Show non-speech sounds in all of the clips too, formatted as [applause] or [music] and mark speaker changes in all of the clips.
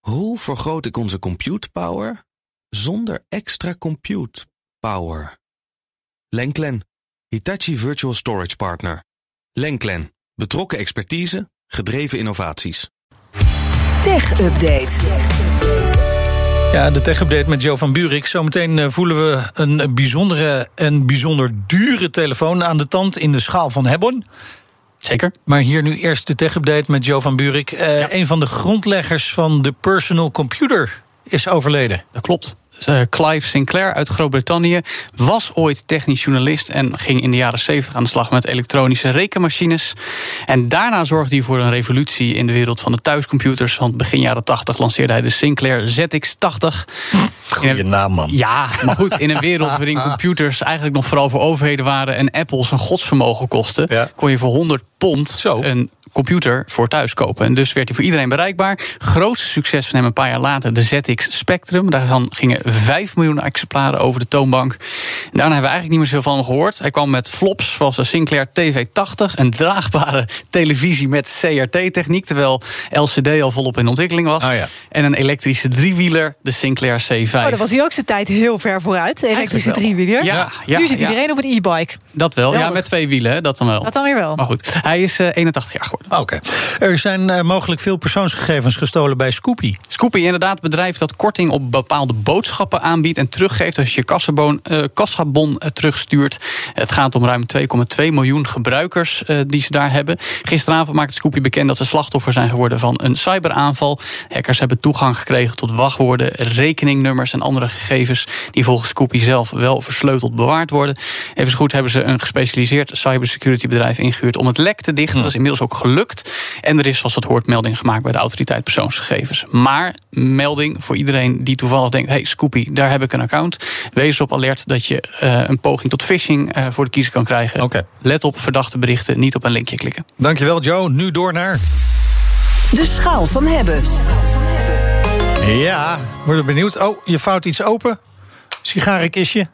Speaker 1: hoe vergroot ik onze compute power zonder extra compute power? Lenklen, Hitachi Virtual Storage Partner. Lenklen, betrokken expertise, gedreven innovaties.
Speaker 2: Tech Update.
Speaker 3: Ja, de tech-update met Jo van Buurik. Zometeen eh, voelen we een bijzondere en bijzonder dure telefoon aan de tand in de schaal van Hebborn.
Speaker 4: Zeker.
Speaker 3: Maar hier nu eerst de tech-update met Jo van Buurik. Eh, Een van de grondleggers van de personal computer is overleden.
Speaker 4: Dat klopt. Eh, Clive Sinclair uit Groot-Brittannië was ooit technisch journalist en ging in de jaren 70 aan de slag met elektronische rekenmachines. En daarna zorgde hij voor een revolutie in de wereld van de thuiscomputers. Want begin jaren 80 lanceerde hij de Sinclair ZX80.
Speaker 5: Goeie
Speaker 4: In een-
Speaker 5: naam, man.
Speaker 4: Ja, maar goed, in een wereld waarin computers eigenlijk nog vooral voor overheden waren en Apple's een godsvermogen kostten,
Speaker 5: Ja.
Speaker 4: kon je voor 100 pond
Speaker 3: Zo.
Speaker 4: een computer voor thuis kopen. En dus werd hij voor iedereen bereikbaar. Grootste succes van hem een paar jaar later, de ZX Spectrum. Daarvan gingen 5 miljoen exemplaren over de toonbank. En daarna hebben we eigenlijk niet meer zoveel van hem gehoord. Hij kwam met flops zoals de Sinclair TV80, een draagbare televisie met CRT-techniek, terwijl LCD al volop in ontwikkeling was.
Speaker 5: Ah, ja.
Speaker 4: En een elektrische driewieler, de Sinclair C5.
Speaker 2: Oh, daar was hij ook zijn tijd heel ver vooruit. de Elektrische
Speaker 4: wel.
Speaker 2: driewieler.
Speaker 4: Ja, ja,
Speaker 2: nu zit
Speaker 4: ja.
Speaker 2: iedereen op een e-bike.
Speaker 4: Dat wel, ja,
Speaker 2: Geweldig.
Speaker 4: met twee wielen, hè, dat dan wel.
Speaker 2: Dat dan weer wel.
Speaker 4: Maar goed, hij is eh, 81 jaar geworden.
Speaker 3: Oké. Er zijn eh, mogelijk veel persoonsgegevens gestolen bij Scoopy.
Speaker 4: Scoopy, inderdaad, het bedrijf dat korting op bepaalde boodschappen aanbiedt en teruggeeft als je je kassabon, eh, kassabon eh, terugstuurt. Het gaat om ruim 2,2 miljoen gebruikers eh, die ze daar hebben. Gisteravond maakte Scoopy bekend dat ze slachtoffer zijn geworden van een cyberaanval. Hackers hebben toegang gekregen tot wachtwoorden, rekeningnummers en andere gegevens die volgens Scoopy zelf wel versleuteld bewaard worden. Even zo goed hebben ze een gespecialiseerd cybersecurity bedrijf ingehuurd om het lek te dichten. Dat is inmiddels ook gelukt. En er is, zoals dat hoort, melding gemaakt bij de autoriteit persoonsgegevens. Maar melding voor iedereen die toevallig denkt: hey, Scoopy, daar heb ik een account. Wees op alert dat je eh, een poging tot phishing eh, voor de kiezer kan krijgen.
Speaker 3: Oké.
Speaker 4: Let op verdachte berichten, niet op een linkje klikken.
Speaker 3: Dankjewel, Jo. Nu door naar.
Speaker 2: De schaal van hebben.
Speaker 3: Ja, worden benieuwd. Oh, je vouwt iets open. Sigarenkistje.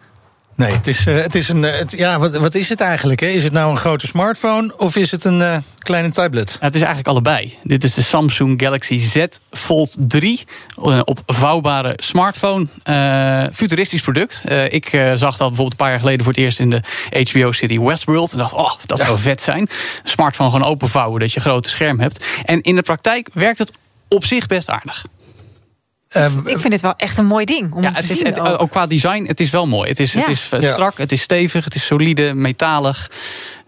Speaker 3: Nee, het is, eh, het is een. eh, het- ja, wat, wat is het eigenlijk? Hè? Is het nou een grote smartphone of is het een eh, kleine tablet?
Speaker 4: Nou, het is eigenlijk allebei. Dit is de Samsung Galaxy Z Fold 3. eh, Opvouwbare smartphone. Eh, futuristisch product. Eh, ik eh, zag dat bijvoorbeeld een paar jaar geleden voor het eerst in de HBO-serie Westworld. En dacht, oh, dat zou vet zijn. Smartphone gewoon openvouwen, dat je een grote scherm hebt. En in de praktijk werkt het op zich best aardig.
Speaker 3: Eh,
Speaker 2: Ik vind dit wel echt een mooi ding om
Speaker 4: Ja,
Speaker 2: te
Speaker 4: het
Speaker 2: zien.
Speaker 4: is, het- oh,
Speaker 2: ook.
Speaker 4: ook qua design, het is wel mooi. Het is, het
Speaker 2: Ja.
Speaker 4: is eh,
Speaker 3: Ja.
Speaker 4: strak, het is stevig, het is solide, metalig.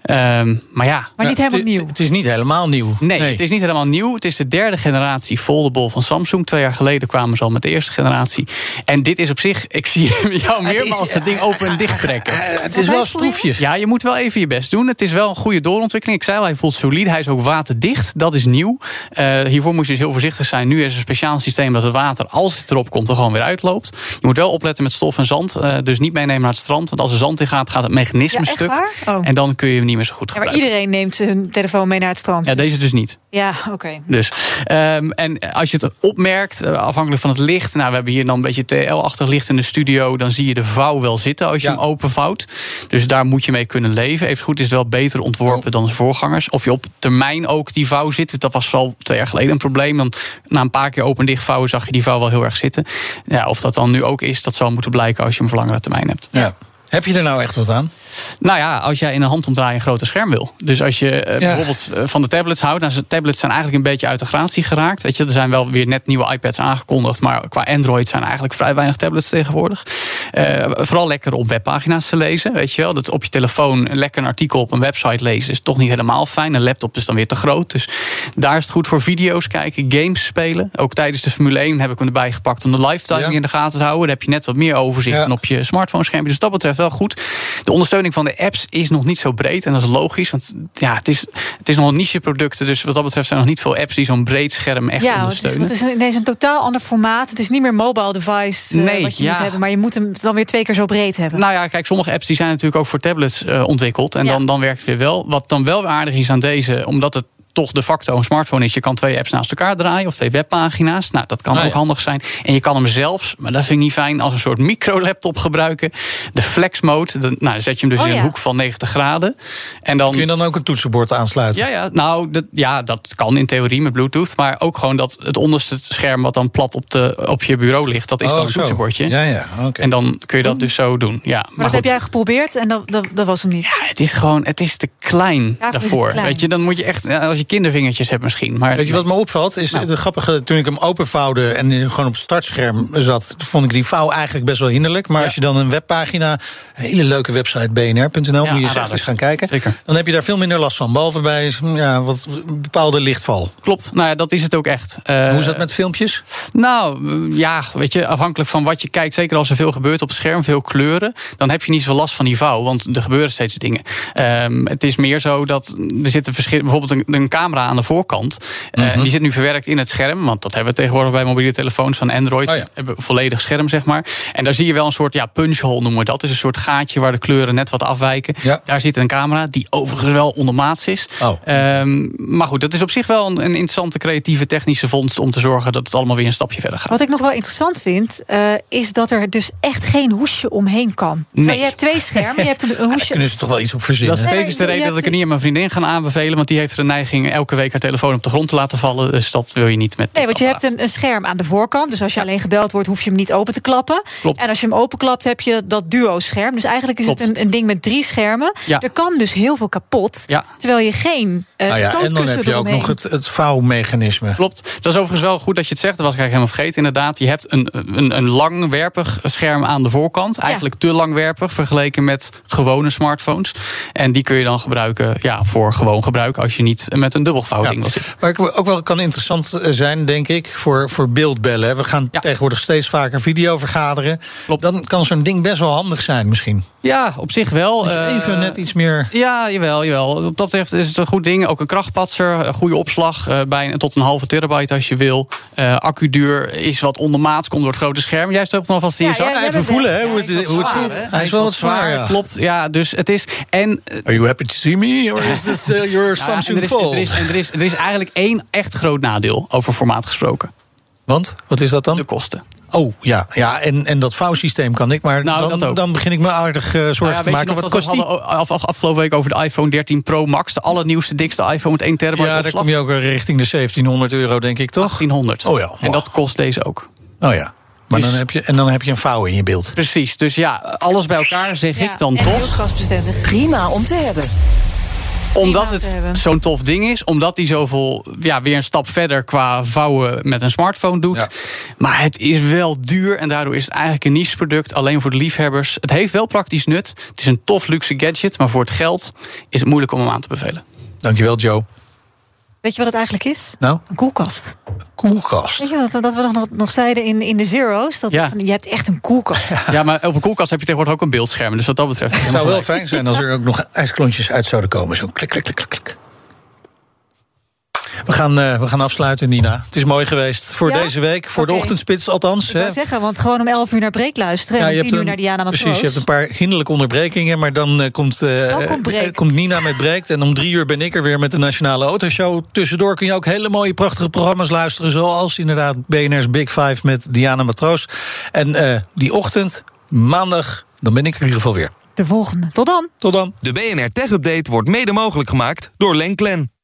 Speaker 4: Ehm, maar ja,
Speaker 2: maar niet
Speaker 3: nou,
Speaker 2: helemaal
Speaker 3: het-
Speaker 2: nieuw.
Speaker 3: Het is niet helemaal nieuw.
Speaker 4: Nee, het is niet helemaal nieuw. Het is de derde generatie foldable van Samsung. Twee jaar geleden kwamen ze al met de eerste generatie. En dit is op zich, ik zie [laughs] jou meermaals het ding open en dicht trekken.
Speaker 3: Het is wel stroefjes.
Speaker 4: Ja, je moet wel even je best doen. Het is wel een goede doorontwikkeling. Ik zei al, hij voelt solide. Hij is ook waterdicht. Dat is nieuw. Eh, hiervoor moest je dus heel voorzichtig zijn. Nu is er een speciaal systeem dat het water, als het erop komt, er gewoon weer uitloopt. Je moet wel opletten met stof en zand. Eh, dus niet meenemen naar het strand. Want als er zand in gaat, gaat het mechanisme
Speaker 2: Ja, echt
Speaker 4: stuk.
Speaker 2: waar? Oh.
Speaker 4: En dan kun je hem niet meer zo goed
Speaker 2: Ja, maar
Speaker 4: gebruiken.
Speaker 2: iedereen neemt zijn telefoon mee naar het strand.
Speaker 4: Ja, deze dus niet.
Speaker 2: Ja, oké.
Speaker 4: Dus, ehm, en als je het opmerkt, eh, afhankelijk van het licht. Nou, we hebben hier dan een beetje TL-achtig licht in de studio. Dan zie je de vouw wel zitten als je
Speaker 3: Ja.
Speaker 4: hem openvouwt. Dus daar moet je mee kunnen leven. Even goed is het wel beter ontworpen dan de voorgangers. Of je op termijn ook die vouw zit. Dat was al twee jaar geleden een probleem. Dan na een paar keer open en dicht vouwen zag je die vouw wel heel erg zitten. Ja, of dat dan nu ook is, dat zal moeten blijken als je hem voor langere termijn hebt.
Speaker 3: Ja. Heb je er nou echt wat aan?
Speaker 4: Nou ja, als jij in een handomdraai een groter scherm wil. Dus als je eh,
Speaker 3: Ja.
Speaker 4: bijvoorbeeld eh, van de tablets houdt. Nou, ze- tablets zijn eigenlijk een beetje uit de gratie geraakt. Weet je, er zijn wel weer net nieuwe iPads aangekondigd. Maar qua Android zijn eigenlijk vrij weinig tablets tegenwoordig. Eh, vooral lekker om webpagina's te lezen. Weet je wel, dat op je telefoon lekker een artikel op een website lezen is toch niet helemaal fijn. Een laptop is dan weer te groot. Dus daar is het goed voor video's kijken, games spelen. Ook tijdens de Formule 1 heb ik hem erbij gepakt om de lifetime
Speaker 3: Ja.
Speaker 4: in de gaten te houden. Daar heb je net wat meer overzicht
Speaker 3: Ja.
Speaker 4: dan op op je smartphone-schermpje. Dus dat betreft wel goed. De ondersteuning van de apps is nog niet zo breed. En dat is logisch, want ja, het, is, het is nog een niche-product. Dus wat dat betreft zijn er nog niet veel apps die zo'n breed scherm echt
Speaker 2: ja, want het is,
Speaker 4: ondersteunen.
Speaker 2: want het is ineens een totaal ander formaat. Het is niet meer mobile device eh,
Speaker 4: Nee,
Speaker 2: wat je
Speaker 4: ja.
Speaker 2: moet hebben. Maar je moet hem dan weer twee keer zo breed hebben.
Speaker 4: Nou ja, kijk, sommige apps die zijn natuurlijk ook voor tablets eh, ontwikkeld. En
Speaker 2: Ja.
Speaker 4: dan, dan werkt het weer wel. Wat dan wel weer aardig is aan deze, omdat het toch de facto een smartphone is. Je kan twee apps naast elkaar draaien of twee webpagina's. Nou, dat kan
Speaker 3: Ah,
Speaker 4: ook
Speaker 3: ja.
Speaker 4: handig zijn. En je kan hem zelfs, maar dat vind ik niet fijn, als een soort micro-laptop gebruiken. De flex mode, de- nou, dan zet je hem dus
Speaker 2: Oh,
Speaker 4: in een
Speaker 2: ja.
Speaker 4: hoek van 90 graden. En dan
Speaker 3: Kun je dan ook een toetsenbord aansluiten?
Speaker 4: ja, ja, nou, dat, ja, dat kan in theorie met Bluetooth. Maar ook gewoon dat het onderste scherm wat dan plat op, de, op je bureau ligt, dat is
Speaker 3: Oh,
Speaker 4: dan een
Speaker 3: zo.
Speaker 4: toetsenbordje.
Speaker 3: Ja, ja, oké.
Speaker 4: En dan kun je dat dus zo doen. Ja, maar
Speaker 2: Maar dat
Speaker 4: goed.
Speaker 2: heb jij geprobeerd en dat, dat, dat was hem niet.
Speaker 4: Ja, Het is gewoon, het is te klein
Speaker 2: het is te
Speaker 4: daarvoor.
Speaker 2: klein.
Speaker 4: Weet je, dan moet je echt, ja, als je kindervingertjes hebt misschien. Maar
Speaker 3: Weet je wat me opvalt? Is
Speaker 4: Nou.
Speaker 3: de grappige, toen ik hem openvouwde en gewoon op het startscherm zat, vond ik die vouw eigenlijk best wel hinderlijk. Maar
Speaker 4: Ja.
Speaker 3: als je dan een webpagina, een hele leuke website bnr.nl, moet je eens
Speaker 4: aanrader.
Speaker 3: echt eens gaan kijken.
Speaker 4: Zeker.
Speaker 3: Dan heb je daar veel minder last van. Behalve bij hm, ja, wat bepaalde lichtval.
Speaker 4: klopt, nou ja, dat is het ook echt. Eh,
Speaker 3: Hoe is dat met filmpjes?
Speaker 4: Nou, mm, ja, weet je, afhankelijk van wat je kijkt. Zeker als er veel gebeurt op het scherm, veel kleuren. Dan heb je niet zoveel last van die vouw, want er gebeuren steeds dingen. Ehm, het is meer zo dat er zit een verschil, bijvoorbeeld een, een camera aan de voorkant. Eh,
Speaker 3: Mhm.
Speaker 4: Die zit nu verwerkt in het scherm, want dat hebben we tegenwoordig bij mobiele telefoons van Android.
Speaker 3: Oh ja.
Speaker 4: Hebben we volledig scherm, zeg maar. En daar zie je wel een soort ja, punchhole noemen we dat. Dus een soort gaatje waar de kleuren net wat afwijken.
Speaker 3: Ja.
Speaker 4: Daar zit een camera, die overigens wel ondermaats is.
Speaker 3: Oh.
Speaker 4: Ehm, maar goed, dat is op zich wel een, een interessante creatieve technische vondst om te zorgen dat het allemaal weer een stapje verder gaat.
Speaker 2: Wat ik nog wel interessant vind, eh, is dat er dus echt geen hoesje omheen kan. Terwijl Je hebt twee schermen, je
Speaker 4: [laughs]
Speaker 2: hebt een, een hoesje.
Speaker 3: Kunnen ze toch wel iets op verzinnen?
Speaker 4: Dat is
Speaker 2: Nee,
Speaker 4: tevens de
Speaker 2: maar je
Speaker 4: reden dat ik het
Speaker 2: hebt-
Speaker 4: niet aan mijn vriendin ga aanbevelen. Want die heeft de neiging elke week haar telefoon op de grond te laten vallen. Dus dat wil je niet met.
Speaker 2: Nee,
Speaker 4: dit
Speaker 2: want je hebt
Speaker 4: apparaat.
Speaker 2: een, een scherm aan de voorkant. Dus als je alleen gebeld wordt, hoef je hem niet open te klappen.
Speaker 4: Klopt.
Speaker 2: En als je hem openklapt, heb je dat duo-scherm. Dus eigenlijk is het
Speaker 4: Klopt.
Speaker 2: een, een ding met drie schermen.
Speaker 4: Ja.
Speaker 2: Er kan dus heel veel kapot.
Speaker 4: Ja.
Speaker 2: Terwijl je geen eh
Speaker 3: Nou ja, en dan
Speaker 2: stootkussen
Speaker 3: heb je ook
Speaker 2: eromheen-
Speaker 3: nog het, het vouwmechanisme.
Speaker 4: Klopt. Dat is overigens wel goed dat je het zegt. Dat was ik eigenlijk helemaal vergeten. Inderdaad, je hebt een, een, een langwerpig scherm aan de voorkant. Eigenlijk te langwerpig vergeleken met gewone smartphones. En die kun je dan gebruiken ja, voor gewoon gebruik. Als je niet met een dubbelvouwding wil zitten.
Speaker 3: Maar ik- ook wel kan interessant eh, zijn, denk ik, voor, voor beeldbellen. hè. We gaan
Speaker 4: Ja.
Speaker 3: tegenwoordig steeds vaker video vergaderen.
Speaker 4: Klopt.
Speaker 3: Dan kan zo'n ding best wel handig zijn, misschien.
Speaker 4: Ja, op zich wel.
Speaker 3: Dus Even
Speaker 4: Eh,
Speaker 3: net iets meer.
Speaker 4: Ja, jawel, jawel. Op dat betreft is het een goed ding. Ook een krachtpatser, een goede opslag, eh, bijna tot een halve terabyte als je wil. Eh accuduur is wat ondermaats, komt door het grote scherm. Jij stopt hem alvast in je
Speaker 2: Ja,
Speaker 4: zak.
Speaker 2: ja,
Speaker 3: Ja,
Speaker 2: jij
Speaker 3: even
Speaker 2: bent
Speaker 3: voelen
Speaker 2: weg.
Speaker 3: hè,
Speaker 2: Ja,
Speaker 3: hoe het,
Speaker 2: hij is
Speaker 3: hoe het
Speaker 2: wel
Speaker 3: voelt.
Speaker 2: zwaar, hè?
Speaker 3: Hij is wel wat zwaar. ja.
Speaker 4: Klopt, ja. Dus het is... En, eh,
Speaker 3: Are you happy to see me? Or is this eh, your
Speaker 4: nou ja, en er
Speaker 3: Samsung
Speaker 4: is, er, is,
Speaker 3: Fold?
Speaker 4: en er, is, er is eigenlijk één echt groot nadeel over formaat gesproken.
Speaker 3: Want, wat is dat
Speaker 4: De
Speaker 3: dan?
Speaker 4: kosten.
Speaker 3: Oh, ja, ja en, en dat vouwsysteem kan ik. Maar
Speaker 4: Nou, dat
Speaker 3: dan,
Speaker 4: ook.
Speaker 3: dan begin ik me aardig eh, zorgen
Speaker 4: Nou ja,
Speaker 3: te
Speaker 4: weet
Speaker 3: maken.
Speaker 4: je nog
Speaker 3: Wat
Speaker 4: dat we
Speaker 3: kost die?
Speaker 4: hadden af, af- afgelopen week over de iPhone 13 Pro Max. De allernieuwste, dikste iPhone met 1 terabyte
Speaker 3: Ja, daar
Speaker 4: opslag.
Speaker 3: kom je ook eh, richting de 1700 euro, denk ik, toch?
Speaker 4: 1800.
Speaker 3: Oh ja,
Speaker 4: En dat kost deze ook.
Speaker 3: Oh ja. Maar
Speaker 4: Dus-
Speaker 3: dan heb je, en dan heb je een vouw in je beeld.
Speaker 4: Precies, dus ja, alles bij elkaar zeg
Speaker 2: Ja,
Speaker 4: ik dan
Speaker 2: en
Speaker 4: toch.
Speaker 2: Wildgasbestendig.
Speaker 5: Prima om te hebben.
Speaker 4: Omdat
Speaker 2: te
Speaker 4: het
Speaker 2: hebben.
Speaker 4: zo'n tof ding is. Omdat die zoveel, ja, weer een stap verder qua vouwen met een smartphone doet.
Speaker 3: Ja.
Speaker 4: Maar het is wel duur en daardoor is het eigenlijk een niche product. Alleen voor de liefhebbers. Het heeft wel praktisch nut. Het is een tof luxe gadget. Maar voor het geld is het moeilijk om hem aan te
Speaker 3: [laughs]
Speaker 4: bevelen.
Speaker 3: Dankjewel, Joe.
Speaker 2: Weet je wat het eigenlijk is?
Speaker 3: Nou,
Speaker 2: Een koelkast. Weet
Speaker 3: koelkast.
Speaker 2: je wat dat we nog, nog zeiden in, in de zero's? Dat
Speaker 4: Ja.
Speaker 2: van, je hebt echt een koelkast.
Speaker 4: Ja, maar op een koelkast heb je tegenwoordig ook een beeldscherm. Dus wat dat betreft.
Speaker 3: Het zou wel fijn zijn als er ook nog ijsklontjes uit zouden komen. Zo klik, klik, klik, klik, klik. We gaan, eh, we gaan afsluiten, Nina. Het is mooi geweest voor
Speaker 2: Ja?
Speaker 3: deze week. Voor de
Speaker 2: Oké.
Speaker 3: ochtendspits althans.
Speaker 2: Ik wou
Speaker 3: hè.
Speaker 2: zeggen, want gewoon om 11 uur naar break luisteren en
Speaker 3: Ja,
Speaker 2: om 10 uur naar Diana Matroos.
Speaker 3: precies, je hebt een paar hinderlijke onderbrekingen. Maar dan, eh, komt, eh,
Speaker 2: Dan komt break.
Speaker 3: eh, komt Nina met breekt. En om drie uur ben ik er weer met de Nationale Autoshow. Tussendoor kun je ook hele mooie, prachtige programma's luisteren. Zoals inderdaad BNR's Big Five met Diana Matroos. En eh, die ochtend, maandag, dan ben ik er in ieder geval weer.
Speaker 2: De volgende. Tot dan.
Speaker 3: Tot dan.
Speaker 1: De BNR Tech Update wordt mede mogelijk gemaakt door Lenklen.